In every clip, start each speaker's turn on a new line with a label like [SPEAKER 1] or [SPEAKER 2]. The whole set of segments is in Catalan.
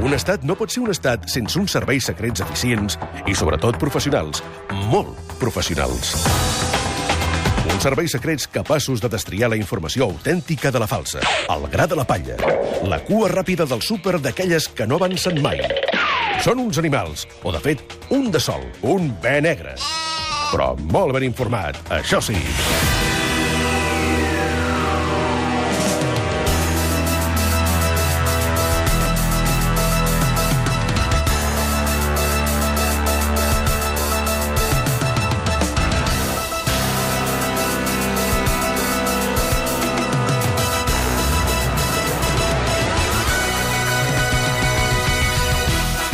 [SPEAKER 1] Un estat no pot ser un estat sense uns serveis secrets eficients i, sobretot, professionals. Molt professionals. Uns serveis secrets capaços de destriar la informació autèntica de la falsa, el gra de la palla, la cua ràpida del súper d'aquelles que no avancen mai. Són uns animals, o de fet, un de sol, un bé negre. Però molt ben informat, això sí.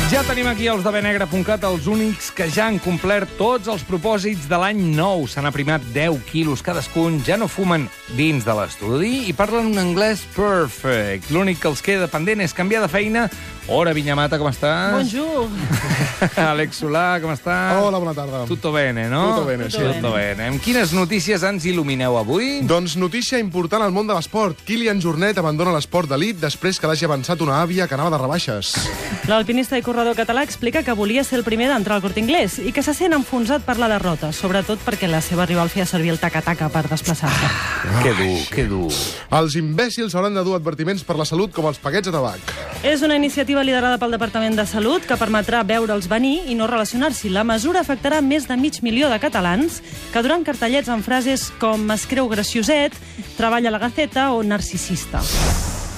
[SPEAKER 2] Ja tenim aquí els de benegre.cat, els únics que ja han complert tots els propòsits de l'any nou. S'han aprimat 10 quilos cadascun, ja no fumen dins de l'estudi i parlen un anglès perfect. L'únic que els queda pendent és canviar de feina. Hora, Vinyamata, com estàs?
[SPEAKER 3] Bonjour.
[SPEAKER 2] Alex Solà, com estàs?
[SPEAKER 4] Hola, bona tarda.
[SPEAKER 2] Tutto bene, no?
[SPEAKER 4] Tutto bene, sí.
[SPEAKER 2] Tutto bene. Amb quines notícies ens il·lumineu avui?
[SPEAKER 4] Doncs notícia important al món de l'esport. Kilian Jornet abandona l'esport d'elit després que l'hagi avançat una àvia que anava de rebaixes.
[SPEAKER 3] L'alpinista i corredor català explica que volia ser el primer d'entrar al Corte Inglés i que se sent enfonsat per la derrota, sobretot perquè la seva rival feia servir el taca-taca per desplaçar-se.
[SPEAKER 2] que dur, que dur.
[SPEAKER 4] Els imbècils hauran de dur advertiments per la salut com els paquets de tabac.
[SPEAKER 3] És una iniciativa liderada pel Departament de Salut que permetrà veure'ls venir i no relacionar-s'hi. La mesura afectarà més de mig milió de catalans que duran cartellets amb frases com «M'escriu gracioset», «Treballa a la Gaceta» o «Narcisista».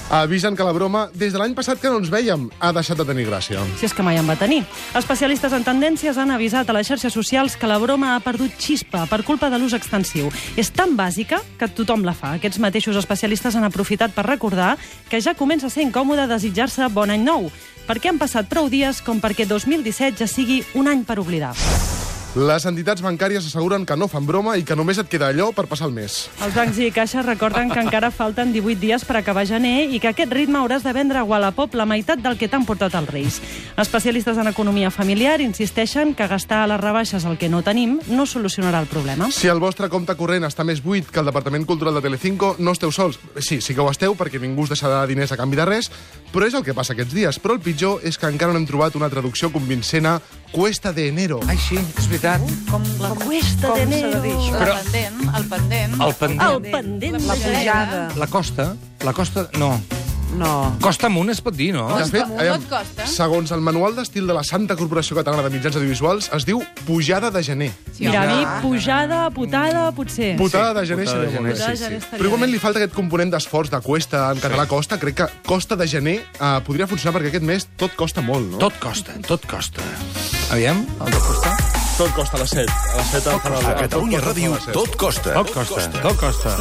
[SPEAKER 4] Avisen que la broma, des de l'any passat que no ens vèiem, ha deixat de tenir gràcia.
[SPEAKER 3] si és que mai en va tenir. Especialistes en tendències han avisat a les xarxes socials que la broma ha perdut xispa per culpa de l'ús extensiu. És tan bàsica que tothom la fa. Aquests mateixos especialistes han aprofitat per recordar que ja comença a ser incòmode desitjar-se bon any nou, perquè han passat prou dies com perquè 2017 ja sigui un any per oblidar.
[SPEAKER 4] Les entitats bancàries asseguren que no fan broma i que només et queda allò per passar el mes.
[SPEAKER 3] Els bancs i caixes recorden que encara falten 18 dies per acabar gener i que a aquest ritme hauràs de vendre a Wallapop la meitat del que t'han portat els Reis. Especialistes en economia familiar insisteixen que gastar a les rebaixes el que no tenim no solucionarà el problema.
[SPEAKER 4] Si el vostre compte corrent està més buit que el Departament Cultural de Telecinco, no esteu sols. Sí, sí que ho esteu, perquè ningú us deixarà diners a canvi de res, però és el que passa aquests dies. Però el pitjor és que encara no hem trobat una traducció convincent a Cuesta de Enero.
[SPEAKER 2] Ai, sí, és veritat.
[SPEAKER 5] Com,
[SPEAKER 3] La
[SPEAKER 5] com,
[SPEAKER 3] cuesta de
[SPEAKER 5] com s'ha de dir
[SPEAKER 3] enero.
[SPEAKER 5] això?
[SPEAKER 2] Però-
[SPEAKER 5] El pendent, el pendent. eh?
[SPEAKER 2] El pendent.
[SPEAKER 3] El pendent.
[SPEAKER 5] La
[SPEAKER 3] La
[SPEAKER 5] pujada.
[SPEAKER 2] La costa, la costa... No.
[SPEAKER 5] Oh. No.
[SPEAKER 2] Costa amunt es pot dir, no?
[SPEAKER 5] Costa amunt, no et costa.
[SPEAKER 4] segons el manual d'estil de la Santa Corporació Catalana de Mitjans Audiovisuals, es diu Pujada de Gener.
[SPEAKER 5] Sí,
[SPEAKER 3] Mira, a
[SPEAKER 5] home.
[SPEAKER 3] mi pujada, putada, potser.
[SPEAKER 4] Putada de gener
[SPEAKER 2] putada de
[SPEAKER 4] seria molt
[SPEAKER 2] gener,
[SPEAKER 4] bé.
[SPEAKER 3] Putada de sí, gener sí. estaria
[SPEAKER 4] Però
[SPEAKER 3] bé.
[SPEAKER 4] igualment li falta aquest component d'esforç de cuesta, en català costa. Crec que costa de gener eh, podria funcionar perquè aquest mes tot costa molt, no?
[SPEAKER 2] Tot costa, tot costa. Aviam, el de costa.
[SPEAKER 4] tot costa a les 7. A les 7 tot
[SPEAKER 1] A Catalunya Ràdio, tot costa.
[SPEAKER 2] Tot costa, tot costa.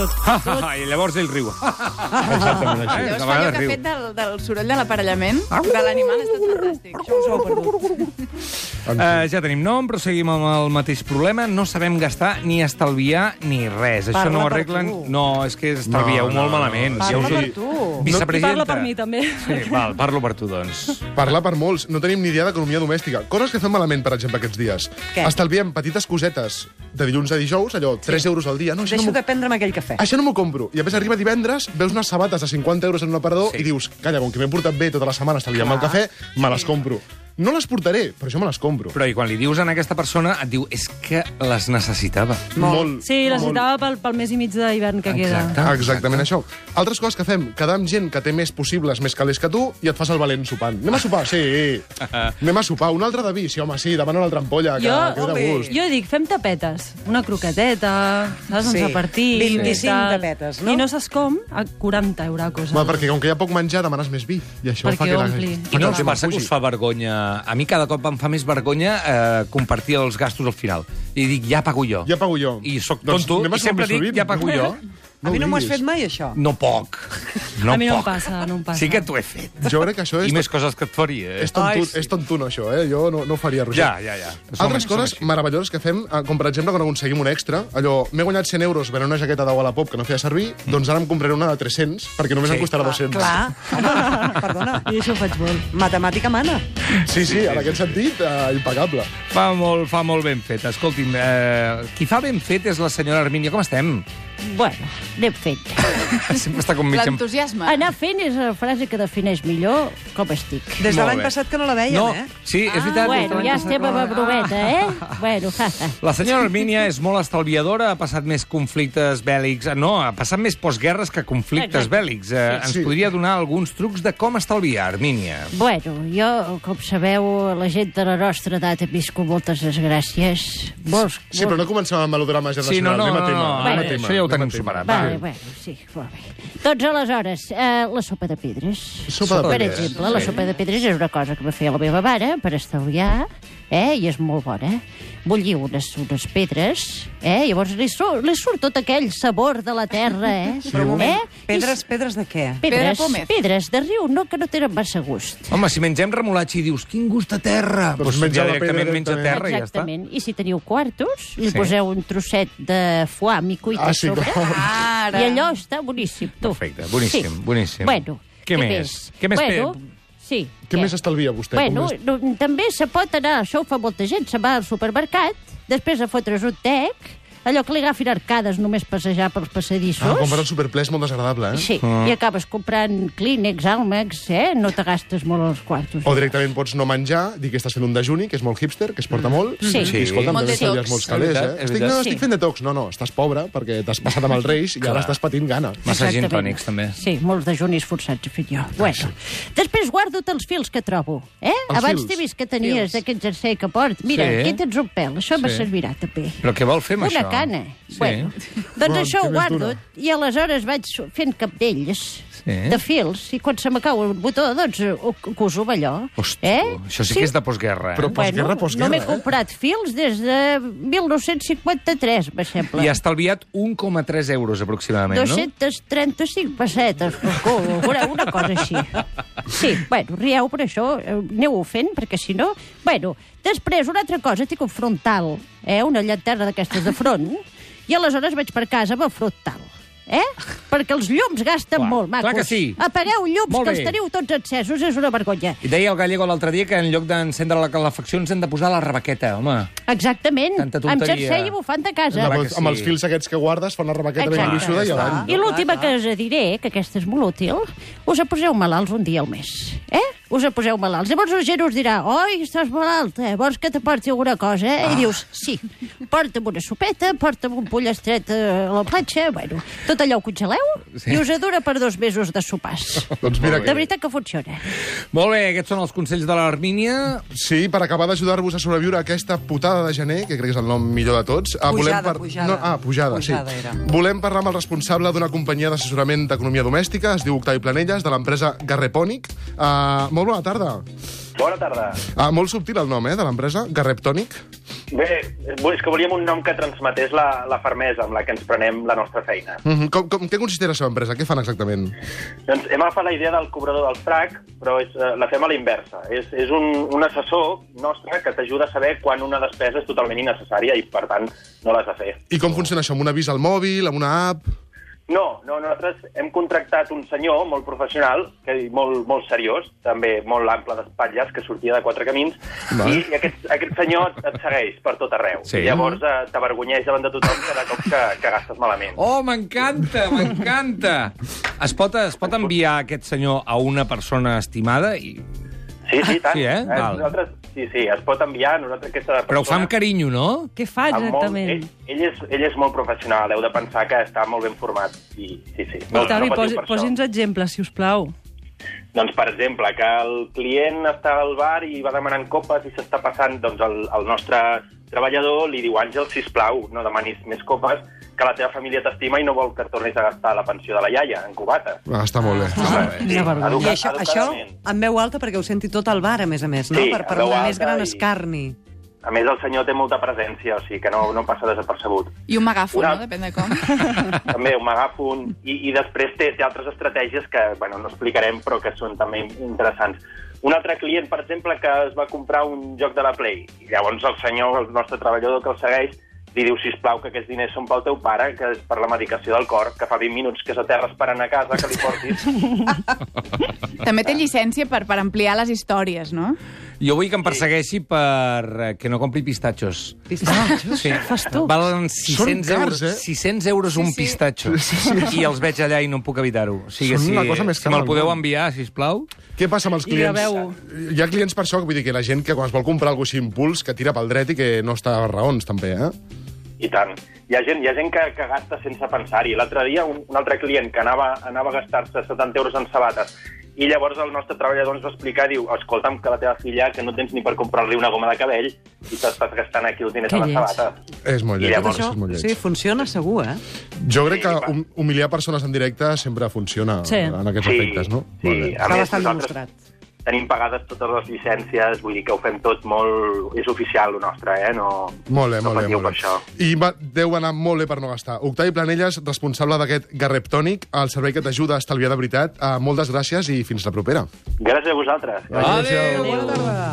[SPEAKER 2] I llavors ell riu. Exactament així.
[SPEAKER 5] Llavors, allò Ah, que ha fet del, del soroll de l'aparellament de l'animal ha estat fantàstic. Això us ho heu perdut.
[SPEAKER 2] Uh, ja tenim nom, però seguim amb el mateix problema. No sabem gastar ni estalviar ni res. Això
[SPEAKER 3] Parla
[SPEAKER 2] no ho
[SPEAKER 3] per
[SPEAKER 2] arreglen...
[SPEAKER 3] tu.
[SPEAKER 2] No, és que estalvieu
[SPEAKER 4] No, no,
[SPEAKER 2] molt malament.
[SPEAKER 3] Parla
[SPEAKER 2] us ho
[SPEAKER 3] per
[SPEAKER 2] dic.
[SPEAKER 3] tu.
[SPEAKER 2] Vicepresidenta.
[SPEAKER 3] I parla per mi, també.
[SPEAKER 2] Sí, val, parlo per tu, doncs.
[SPEAKER 4] Parlar per molts. No tenim ni idea d'economia domèstica. Coses que fem malament, per exemple, aquests dies.
[SPEAKER 6] Què?
[SPEAKER 4] Estalviem petites cosetes de dilluns a dijous, allò, 3 sí. euros al dia. No, això
[SPEAKER 6] Deixo
[SPEAKER 4] no m'ho-
[SPEAKER 6] de prendre'm aquell cafè.
[SPEAKER 4] Això no m'ho compro. I a més arriba divendres, veus unes sabates de 50 euros en un aparador
[SPEAKER 2] Sí.
[SPEAKER 4] sí. i dius, calla, com que m'he portat bé tota la setmana estalviant el cafè, me les compro. No les portaré, però jo me les compro.
[SPEAKER 2] Però i quan li dius a aquesta persona, et diu és que les necessitava.
[SPEAKER 4] Molt. Ah,
[SPEAKER 3] Sí, la citava pel, pel mes i mig d'hivern que queda.
[SPEAKER 2] Exacte.
[SPEAKER 4] Exactament això. Altres coses que fem, quedar amb gent que té més possibles, més calés que tu, i et fas el valent sopant. Anem a sopar? Sí. Anem a sopar. Un altre de vi? Sí, home, sí. Demana una altra ampolla, que,
[SPEAKER 3] Jo,
[SPEAKER 4] que ve de gust.
[SPEAKER 3] jo dic, fem tapetes. Una croqueteta, saps, sí.
[SPEAKER 6] Sí.
[SPEAKER 3] un repartit...
[SPEAKER 6] 25
[SPEAKER 3] i tal.
[SPEAKER 6] tapetes, no?
[SPEAKER 3] I no saps com, a 40 euracos.
[SPEAKER 4] Home, perquè com que hi ha poc menjar, demanes més vi. I això
[SPEAKER 3] Perquè
[SPEAKER 4] fa que
[SPEAKER 3] ompli.
[SPEAKER 4] La... fa
[SPEAKER 2] Doncs- I
[SPEAKER 4] que
[SPEAKER 2] no
[SPEAKER 4] el
[SPEAKER 2] us
[SPEAKER 4] tema
[SPEAKER 2] passa que
[SPEAKER 4] pugi.
[SPEAKER 2] us fa vergonya? A mi cada cop em fa més vergonya eh, compartir els gastos al final. I dic, ja pago jo.
[SPEAKER 4] Ja pago jo.
[SPEAKER 2] I sóc
[SPEAKER 4] Doncs
[SPEAKER 2] tonto
[SPEAKER 4] anem a
[SPEAKER 2] i sempre
[SPEAKER 4] sopar més
[SPEAKER 2] dic,
[SPEAKER 4] sovint.
[SPEAKER 2] ja pago jo.
[SPEAKER 6] a
[SPEAKER 4] ho
[SPEAKER 6] mi no m'ho has
[SPEAKER 4] diguis.
[SPEAKER 6] fet mai, això.
[SPEAKER 2] No poc. No
[SPEAKER 3] A mi no
[SPEAKER 2] poc.
[SPEAKER 3] em passa, no em passa.
[SPEAKER 2] Sí que t'ho he fet.
[SPEAKER 4] Jo crec que això és,
[SPEAKER 2] I més coses que et faria, eh?
[SPEAKER 4] és, tontu,
[SPEAKER 2] Ai,
[SPEAKER 4] és tontuno, això, eh? Jo no, no ho faria, Roger.
[SPEAKER 2] Ja, ja, ja. Som
[SPEAKER 4] Altres
[SPEAKER 2] així, som
[SPEAKER 4] coses
[SPEAKER 2] així.
[SPEAKER 4] meravelloses que fem, eh, com per exemple quan aconseguim un extra, allò, m'he guanyat 100 euros venent una jaqueta de Wallapop que no feia servir, doncs ara em compraré una de 300, perquè només
[SPEAKER 2] Mm. Sí,
[SPEAKER 4] em costarà
[SPEAKER 6] Ah,
[SPEAKER 4] 200.
[SPEAKER 6] Clar, home, perdona.
[SPEAKER 3] I això ho faig molt.
[SPEAKER 6] Matemàtica mana.
[SPEAKER 4] Sí, sí, en aquest sentit, eh, impecable.
[SPEAKER 2] Fa molt, fa molt ben fet. Escolti'm, eh, qui fa ben fet és la senyora Armínia. Com estem?
[SPEAKER 3] Bueno, anem fent.
[SPEAKER 2] Sempre està com mig... en-
[SPEAKER 5] L'entusiasme.
[SPEAKER 3] Anar fent és la frase que defineix millor com estic.
[SPEAKER 6] Des de
[SPEAKER 2] Molt
[SPEAKER 6] l'any
[SPEAKER 2] bé.
[SPEAKER 6] passat que no la veiem,
[SPEAKER 2] No,
[SPEAKER 6] eh?
[SPEAKER 2] sí, és veritat.
[SPEAKER 3] Ah, bueno, ja
[SPEAKER 6] Aquesta
[SPEAKER 3] estem a
[SPEAKER 6] cosa.
[SPEAKER 3] Bebroveta, eh? Bueno, ha, ha.
[SPEAKER 2] La senyora Armínia és molt estalviadora, ha passat més conflictes bèl·lics... eh, No, ha passat més postguerres que conflictes
[SPEAKER 3] Exacte.
[SPEAKER 2] bèl·lics. Eh, ens
[SPEAKER 4] Sí.
[SPEAKER 2] podria donar alguns trucs de com estalviar, Armínia.
[SPEAKER 3] Bueno, jo, com sabeu, la gent de la nostra edat ha viscut moltes desgràcies. Molts,
[SPEAKER 4] Sí, però no comencem amb melodrama
[SPEAKER 2] Sí, no,
[SPEAKER 4] generacional.
[SPEAKER 2] no,
[SPEAKER 4] anem
[SPEAKER 2] no,
[SPEAKER 4] a tema.
[SPEAKER 2] no,
[SPEAKER 4] anem a
[SPEAKER 3] Bé,
[SPEAKER 4] tema,
[SPEAKER 2] això ja ho
[SPEAKER 4] anem a
[SPEAKER 2] tenim
[SPEAKER 4] tema.
[SPEAKER 2] superat.
[SPEAKER 3] Vale,
[SPEAKER 2] Sí.
[SPEAKER 3] bueno, sí, molt bé. Doncs aleshores, eh, la sopa de pedres.
[SPEAKER 4] Sopa de
[SPEAKER 3] per
[SPEAKER 4] pedres,
[SPEAKER 3] exemple, la
[SPEAKER 2] sí.
[SPEAKER 3] sopa de pedres és una cosa que va fer la meva mare per estalviar, eh, i és molt bona. Bullir unes, unes pedres, eh, llavors li surt, li surt tot aquell sabor de la terra, eh? Sí,
[SPEAKER 6] Però un moment,
[SPEAKER 3] eh?
[SPEAKER 6] pedres, pedres de què?
[SPEAKER 3] I
[SPEAKER 5] Pedra
[SPEAKER 3] pedres,
[SPEAKER 5] Pómez.
[SPEAKER 3] pedres de riu, no, que no tenen massa gust.
[SPEAKER 2] Home, si mengem remolatxi i dius quin gust a terra,
[SPEAKER 4] Doncs
[SPEAKER 2] doncs
[SPEAKER 4] menja
[SPEAKER 2] ja
[SPEAKER 4] la
[SPEAKER 2] directament
[SPEAKER 4] pedra
[SPEAKER 2] menja
[SPEAKER 4] directament.
[SPEAKER 2] terra
[SPEAKER 3] Exactament. I si teniu quartos, li
[SPEAKER 2] Sí.
[SPEAKER 3] poseu un trosset de foam i cuita
[SPEAKER 4] Ah,
[SPEAKER 3] a
[SPEAKER 4] sí,
[SPEAKER 3] sobre.
[SPEAKER 4] clar.
[SPEAKER 5] Ara.
[SPEAKER 3] I allò està boníssim, tu.
[SPEAKER 2] Perfecte, boníssim, boníssim.
[SPEAKER 3] Bueno,
[SPEAKER 2] Què
[SPEAKER 3] què,
[SPEAKER 2] més? Què més,
[SPEAKER 3] bueno,
[SPEAKER 2] Pep?
[SPEAKER 3] Sí.
[SPEAKER 4] Què més estalvia vostè? Com
[SPEAKER 3] Bueno,
[SPEAKER 4] més-
[SPEAKER 3] no, també se pot anar, això ho fa molta gent, se va al supermercat, després a fotre's un tec, allò que li agafin arcades només passejar pels passadissos.
[SPEAKER 4] Ah, quan vas al superple és molt desagradable, eh?
[SPEAKER 3] Sí, i acabes comprant clínex, àlmex, eh? No te gastes molt els quartos.
[SPEAKER 4] O directament pots no menjar, dir que estàs fent un dejuni, que és molt hipster, que es porta molt.
[SPEAKER 3] Mm. Sí.
[SPEAKER 4] I escolta,
[SPEAKER 5] Molt
[SPEAKER 4] també
[SPEAKER 5] detox.
[SPEAKER 4] estalvies molts calés,
[SPEAKER 2] És
[SPEAKER 4] eh?
[SPEAKER 2] veritat, és
[SPEAKER 4] Estic, no,
[SPEAKER 2] veritat.
[SPEAKER 4] estic
[SPEAKER 3] Sí.
[SPEAKER 4] fent detox. No, no, estàs pobre perquè t'has passat amb els reis i
[SPEAKER 2] Clar.
[SPEAKER 4] ara estàs patint gana.
[SPEAKER 2] Massa gin
[SPEAKER 3] Exactament.
[SPEAKER 2] tònics, també.
[SPEAKER 3] Sí, molts dejunis forçats he fet jo. Bueno, després guardo tots els fils que trobo. Eh?
[SPEAKER 4] Els
[SPEAKER 3] Abans
[SPEAKER 4] fils?
[SPEAKER 3] t'he vist que tenies aquest jersei que port. Mira,
[SPEAKER 2] Sí.
[SPEAKER 3] aquí tens un pèl, això me
[SPEAKER 2] Sí.
[SPEAKER 3] servirà també.
[SPEAKER 2] Però què vol fer amb
[SPEAKER 3] Una
[SPEAKER 2] això?
[SPEAKER 3] cana.
[SPEAKER 2] Sí.
[SPEAKER 3] Bueno, doncs
[SPEAKER 4] Bueno,
[SPEAKER 3] això
[SPEAKER 4] què
[SPEAKER 3] ho
[SPEAKER 4] més
[SPEAKER 3] guardo
[SPEAKER 4] dona?
[SPEAKER 3] i aleshores vaig fent capdells
[SPEAKER 2] Sí.
[SPEAKER 3] de fils i quan se m'acau el botó, doncs ho ho coso amb allò.
[SPEAKER 2] Hosti,
[SPEAKER 3] eh?
[SPEAKER 2] això sí, que és de postguerra. eh?
[SPEAKER 4] Però postguerra, postguerra,
[SPEAKER 3] no m'he
[SPEAKER 4] eh?
[SPEAKER 3] comprat fils des de 1953, me sembla.
[SPEAKER 2] I ha estalviat 1,3 euros aproximadament, no?
[SPEAKER 3] 235 pessetes, cocó, una, una cosa així. Sí, bueno, rieu per això, eh, aneu-ho fent, perquè si no... Bueno, després, una altra cosa, tinc un frontal, eh, una llanterna d'aquestes de front, i aleshores vaig per casa amb el frontal. Eh? Perquè els llums gasten
[SPEAKER 2] Clar,
[SPEAKER 3] molt,
[SPEAKER 2] clar
[SPEAKER 3] macos.
[SPEAKER 2] que sí.
[SPEAKER 3] Apagueu llums,
[SPEAKER 2] Molt
[SPEAKER 3] que
[SPEAKER 2] bé.
[SPEAKER 3] els teniu tots encesos, és una vergonya.
[SPEAKER 2] I deia el Gallego l'altre dia que en lloc d'encendre la calefacció ens hem de posar la rebaqueta, home.
[SPEAKER 3] Exactament,
[SPEAKER 2] Tanta
[SPEAKER 3] amb
[SPEAKER 2] tonteria.
[SPEAKER 3] jersei i bufanda a casa.
[SPEAKER 2] Clar
[SPEAKER 4] Amb,
[SPEAKER 2] que
[SPEAKER 4] els, amb
[SPEAKER 2] sí.
[SPEAKER 4] els fils aquests que guardes fan la rebaqueta ben
[SPEAKER 3] Exacte.
[SPEAKER 4] gruixuda i
[SPEAKER 2] Ja està.
[SPEAKER 4] avant.
[SPEAKER 3] I l'última que us diré, que aquesta és molt útil, us poseu malalts un dia al mes, eh? Us poseu malalts. Llavors la gent us dirà, oi, estàs malalt, eh? vols que te porti alguna cosa? Eh? I dius, sí, porta'm una sopeta, porta'm un pollestret eh, a la platja, bueno, tot allò ho congeleu
[SPEAKER 2] Sí.
[SPEAKER 3] sí. i us dura per dos mesos de sopars.
[SPEAKER 4] Doncs mira
[SPEAKER 3] De
[SPEAKER 4] que...
[SPEAKER 3] veritat que funciona.
[SPEAKER 2] Molt bé, aquests són els consells de l'Armínia.
[SPEAKER 4] Sí, per acabar d'ajudar-vos a sobreviure a aquesta putada de gener, que crec que és el nom millor de tots. Ah,
[SPEAKER 6] Pujada,
[SPEAKER 4] par-
[SPEAKER 6] pujada.
[SPEAKER 4] No, ah, pujada,
[SPEAKER 6] Pujada
[SPEAKER 4] sí.
[SPEAKER 6] era.
[SPEAKER 4] Volem parlar amb el responsable d'una companyia d'assessorament d'economia domèstica, es diu Octavi Planelles, de l'empresa Garrepònic. Uh, molt bona tarda.
[SPEAKER 7] Bona tarda.
[SPEAKER 4] Uh, molt subtil el nom, eh, de l'empresa, Garreptònic.
[SPEAKER 7] Bé, és que volíem un nom que transmetés la, la fermesa amb la que ens prenem la nostra feina.
[SPEAKER 4] Uh -huh. com, com, què consisteix la seva empresa? Què fan exactament?
[SPEAKER 7] Doncs hem agafat la idea del cobrador del frac, però és, eh, la fem a la inversa. És, és un, un assessor nostre que t'ajuda a saber quan una despesa és totalment innecessària i, per tant, no l'has de fer.
[SPEAKER 4] I com funciona això? Amb un avís al mòbil, amb una app...
[SPEAKER 7] No, no, nosaltres hem contractat un senyor molt professional, que, i molt, molt seriós, també molt ample d'espatlles, que sortia de quatre camins, i, i aquest, aquest senyor et, et segueix per tot arreu.
[SPEAKER 2] Sí.
[SPEAKER 7] I llavors eh, t'avergonyeix davant de tothom cada cop que, que gastes malament.
[SPEAKER 2] Oh, m'encanta, m'encanta! Es pot, es pot enviar aquest senyor a una persona estimada? I...
[SPEAKER 7] Sí, sí, tant.
[SPEAKER 2] Sí, eh? Val.
[SPEAKER 7] Nosaltres, sí, sí, es pot enviar a nosaltres aquesta persona.
[SPEAKER 2] Però ho fa amb carinyo, no?
[SPEAKER 8] Què fa
[SPEAKER 7] amb molt- Eh?
[SPEAKER 8] exactament?
[SPEAKER 7] Ell, ell, és, ell és molt professional, heu de pensar que està molt ben format. I, sí, sí.
[SPEAKER 8] Octavi,
[SPEAKER 7] patiu
[SPEAKER 8] posi,
[SPEAKER 7] per això.
[SPEAKER 8] posi'ns exemples, si us plau.
[SPEAKER 7] Doncs, per exemple, que el client està al bar i va demanant copes i s'està passant, doncs el, el nostre treballador li diu, Àngel, sisplau, no demanis més copes, que la teva família t'estima i no vol que et tornis a gastar la pensió de la iaia en cubates.
[SPEAKER 4] Ah, està molt bé.
[SPEAKER 2] Ah,
[SPEAKER 7] Sí,
[SPEAKER 6] I
[SPEAKER 7] educa-
[SPEAKER 6] això, això
[SPEAKER 7] educadament.
[SPEAKER 6] en veu alta perquè ho senti tot al bar, a més a més, no?
[SPEAKER 7] Sí,
[SPEAKER 6] per
[SPEAKER 7] en
[SPEAKER 6] per
[SPEAKER 7] veu
[SPEAKER 6] la
[SPEAKER 7] alta
[SPEAKER 6] més gran
[SPEAKER 7] i-
[SPEAKER 6] escarni.
[SPEAKER 7] A més, el senyor té molta presència, o sigui que no, no passa desapercebut.
[SPEAKER 5] I un megàfon,
[SPEAKER 7] Una-
[SPEAKER 5] no? Depèn de com.
[SPEAKER 7] també un megàfon, i, i després té, té altres estratègies que, bueno, no explicarem, però que són també interessants. Un altre client, per exemple, que es va comprar un joc de la Play, i llavors el senyor, el nostre treballador que el segueix, li diu, sisplau, que aquests diners són pel teu pare, que és per la medicació del cor, que fa 20 minuts que és a terra esperant a casa, que li portis...
[SPEAKER 5] També té llicència per, per ampliar les històries, no?
[SPEAKER 2] Jo vull que em persegueixi per eh, que no compri pistatxos.
[SPEAKER 6] "Ah,
[SPEAKER 8] Pistatxos?
[SPEAKER 2] Sí.
[SPEAKER 8] Fas tu?
[SPEAKER 2] Valen
[SPEAKER 4] Són
[SPEAKER 2] 600
[SPEAKER 4] cars,
[SPEAKER 2] euros,
[SPEAKER 4] eh?
[SPEAKER 2] 600 euros un
[SPEAKER 5] Sí, sí.
[SPEAKER 2] pistatxo. I els veig allà i no puc evitar-ho. O sigui,
[SPEAKER 4] Són
[SPEAKER 2] si,
[SPEAKER 4] la cosa més
[SPEAKER 2] si
[SPEAKER 4] cara
[SPEAKER 2] me'l
[SPEAKER 4] del
[SPEAKER 2] podeu
[SPEAKER 4] món.
[SPEAKER 2] enviar, si us plau.
[SPEAKER 4] Què passa amb els
[SPEAKER 8] I
[SPEAKER 4] clients?
[SPEAKER 8] graveu-ho.
[SPEAKER 4] Hi ha clients per això, vull dir que la gent que quan es vol comprar alguna cosa així impuls, que tira pel dret i que no està a raons, també, eh?
[SPEAKER 7] I tant. Hi ha gent, hi ha gent que, que gasta sense pensar-hi. L'altre dia, un, un altre client que anava, anava a gastar-se 70 euros en sabates i llavors el nostre treballador ens va explicar, diu, escolta'm, que la teva filla, que no tens ni per comprar-li una goma de cabell i t'estàs gastant aquí els diners
[SPEAKER 8] Que
[SPEAKER 7] a les
[SPEAKER 8] lleig.
[SPEAKER 7] sabates.
[SPEAKER 4] És molt
[SPEAKER 7] I
[SPEAKER 4] lleig.
[SPEAKER 7] llavors-
[SPEAKER 4] és molt lleig.
[SPEAKER 6] sí, funciona segur, eh?
[SPEAKER 4] Jo crec que
[SPEAKER 7] Sí, va.
[SPEAKER 4] hum- humiliar persones en directe sempre funciona
[SPEAKER 8] Sí.
[SPEAKER 4] en aquests efectes, no?
[SPEAKER 7] Sí,
[SPEAKER 4] Molt bé.
[SPEAKER 7] a
[SPEAKER 6] Està
[SPEAKER 7] més,
[SPEAKER 6] bastant
[SPEAKER 7] nosaltres
[SPEAKER 6] demostrat.
[SPEAKER 7] Tenim pagades totes les llicències, vull dir que ho fem tot molt... És oficial, el nostre, eh? No,
[SPEAKER 4] Molt bé,
[SPEAKER 7] no
[SPEAKER 4] molt bé,
[SPEAKER 7] patiu
[SPEAKER 4] molt bé.
[SPEAKER 7] per això.
[SPEAKER 4] I va, deu anar molt bé per no gastar. Octavi Planelles, responsable d'aquest Garreptònic, el servei que t'ajuda a estalviar de veritat. Uh, moltes gràcies i fins la propera.
[SPEAKER 7] Gràcies a vosaltres.
[SPEAKER 2] Adéu, bona tarda.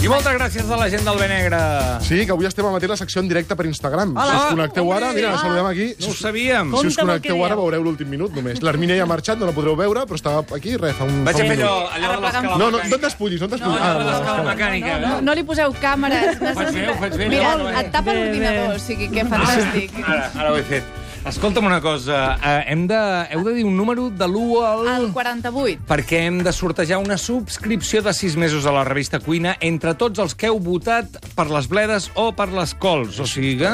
[SPEAKER 2] I moltes gràcies a la gent del Benegre.
[SPEAKER 4] Sí, que avui estem a la secció en directe per Instagram.
[SPEAKER 2] Hola.
[SPEAKER 4] Si us connecteu ara, mira, la saludem aquí.
[SPEAKER 2] No ho sabíem.
[SPEAKER 4] Si us
[SPEAKER 8] Compte amb el que
[SPEAKER 4] connecteu ara
[SPEAKER 8] dieu.
[SPEAKER 4] veureu l'últim minut només. L'Armina ja ha marxat, no la podreu veure, però estava aquí, res, fa un...
[SPEAKER 2] Vaig
[SPEAKER 4] fa
[SPEAKER 2] a
[SPEAKER 4] un
[SPEAKER 2] fer allò,
[SPEAKER 4] minut.
[SPEAKER 2] allò de l'escala
[SPEAKER 4] No, no, no
[SPEAKER 2] mecànica.
[SPEAKER 4] et despullis, no et
[SPEAKER 2] No,
[SPEAKER 4] despullis.
[SPEAKER 2] allò de l'escala
[SPEAKER 4] Ah,
[SPEAKER 2] mecànica.
[SPEAKER 5] No, no, no li poseu càmeres.
[SPEAKER 2] bé, ho faig bé,
[SPEAKER 5] Mira,
[SPEAKER 2] no?
[SPEAKER 5] et tapa
[SPEAKER 8] Bé,
[SPEAKER 5] l'ordinador,
[SPEAKER 8] bé.
[SPEAKER 5] o sigui que fantàstic.
[SPEAKER 2] Ara, ara ho he fet. Escolta'm una cosa, eh, hem de, heu de dir un número de l'1 al...
[SPEAKER 5] El 48.
[SPEAKER 2] perquè hem de sortejar una subscripció de 6 mesos a la revista Cuina entre tots els que heu votat per les bledes o per les cols. O sigui que...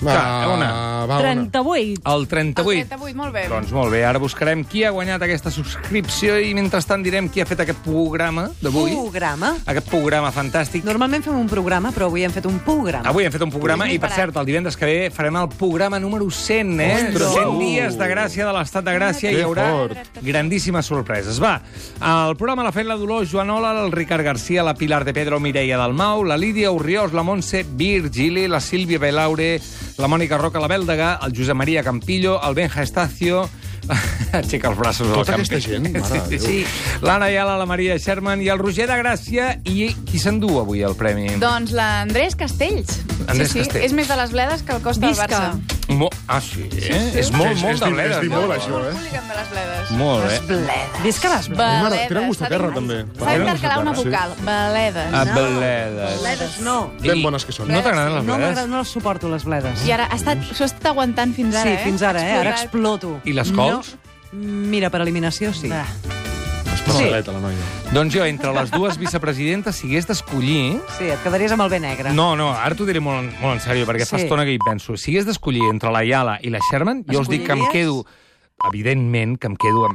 [SPEAKER 2] Clar, eh, una.
[SPEAKER 4] va, una.
[SPEAKER 8] 38.
[SPEAKER 2] El
[SPEAKER 5] El
[SPEAKER 2] 38.
[SPEAKER 5] 38, molt bé.
[SPEAKER 2] Doncs molt bé, ara buscarem qui ha guanyat aquesta subscripció i mentrestant direm qui ha fet aquest programa d'avui.
[SPEAKER 6] Programa.
[SPEAKER 2] Aquest programa fantàstic.
[SPEAKER 6] Normalment fem un programa, però avui hem fet un programa.
[SPEAKER 2] Avui hem fet un programa i, per
[SPEAKER 5] parat.
[SPEAKER 2] cert, el divendres que ve farem el programa número 100, eh?
[SPEAKER 4] Ostres. Uh!
[SPEAKER 2] 100 dies de gràcia de l'estat de gràcia.
[SPEAKER 4] Que
[SPEAKER 2] Hi haurà
[SPEAKER 4] fort.
[SPEAKER 2] grandíssimes sorpreses. Va, el programa l'ha fet la Dolors Joanola, el Ricard Garcia, la Pilar de Pedro, Mireia Dalmau, la Lídia Urriós, la Montse Virgili, la Sílvia Belaure, la Mònica Roca, la Bèldaga, el Josep Maria Campillo, el Benja Estacio... Aixeca els braços al
[SPEAKER 4] Tota
[SPEAKER 2] Campillo.
[SPEAKER 4] aquesta gent, mare de
[SPEAKER 2] sí,
[SPEAKER 4] Déu.
[SPEAKER 2] sí. L'Anna Ayala, la Maria Sherman i el Roger de Gràcia. I qui s'endú avui el premi?
[SPEAKER 5] Doncs l'Andrés Castells.
[SPEAKER 2] Andrés
[SPEAKER 5] sí, sí.
[SPEAKER 2] Castells.
[SPEAKER 5] És més de les bledes que el cos del
[SPEAKER 8] Visca.
[SPEAKER 5] Barça.
[SPEAKER 2] Mo ah, sí, eh? És molt,
[SPEAKER 4] És-
[SPEAKER 2] molt
[SPEAKER 4] és
[SPEAKER 2] de
[SPEAKER 4] dir-
[SPEAKER 2] bledes.
[SPEAKER 4] és dir
[SPEAKER 2] no?
[SPEAKER 4] molt, això, eh?
[SPEAKER 5] Hooligan de les bledes.
[SPEAKER 2] Molt eh?
[SPEAKER 6] eh?
[SPEAKER 2] bé.
[SPEAKER 8] Visca les...
[SPEAKER 5] Baledes.
[SPEAKER 4] tenen gust a
[SPEAKER 5] Eh, S'ha
[SPEAKER 4] terra,
[SPEAKER 5] dit-
[SPEAKER 4] també.
[SPEAKER 5] S'ha
[SPEAKER 4] Tenen
[SPEAKER 5] intercalar
[SPEAKER 4] gust a
[SPEAKER 5] una
[SPEAKER 4] terra,
[SPEAKER 5] vocal. Baledes.
[SPEAKER 6] Ah.
[SPEAKER 2] A bledes.
[SPEAKER 6] Bledes no.
[SPEAKER 4] Ben bones que són.
[SPEAKER 2] No t'agraden les
[SPEAKER 6] No
[SPEAKER 2] bledes?
[SPEAKER 6] m'agraden, no les suporto, les bledes.
[SPEAKER 5] I ara ha estat, s'ho ha estat aguantant fins ara,
[SPEAKER 6] sí,
[SPEAKER 5] eh?
[SPEAKER 6] fins ara, eh? Ara
[SPEAKER 5] Explorat.
[SPEAKER 6] exploto.
[SPEAKER 2] I les cols?
[SPEAKER 6] No. Mira, per eliminació, sí. Va.
[SPEAKER 4] Sí. La noia.
[SPEAKER 2] Doncs jo, entre les dues vicepresidentes, si hagués d'escollir...
[SPEAKER 6] Sí, et quedaries amb el bé negre.
[SPEAKER 2] No, no, ara t'ho diré molt, en- molt en sèrio, perquè fa
[SPEAKER 6] Sí.
[SPEAKER 2] estona que hi penso. Si hagués d'escollir entre la Yala i la Sherman, jo us dic que em
[SPEAKER 6] Escolliries?
[SPEAKER 2] quedo... Evidentment que em quedo amb,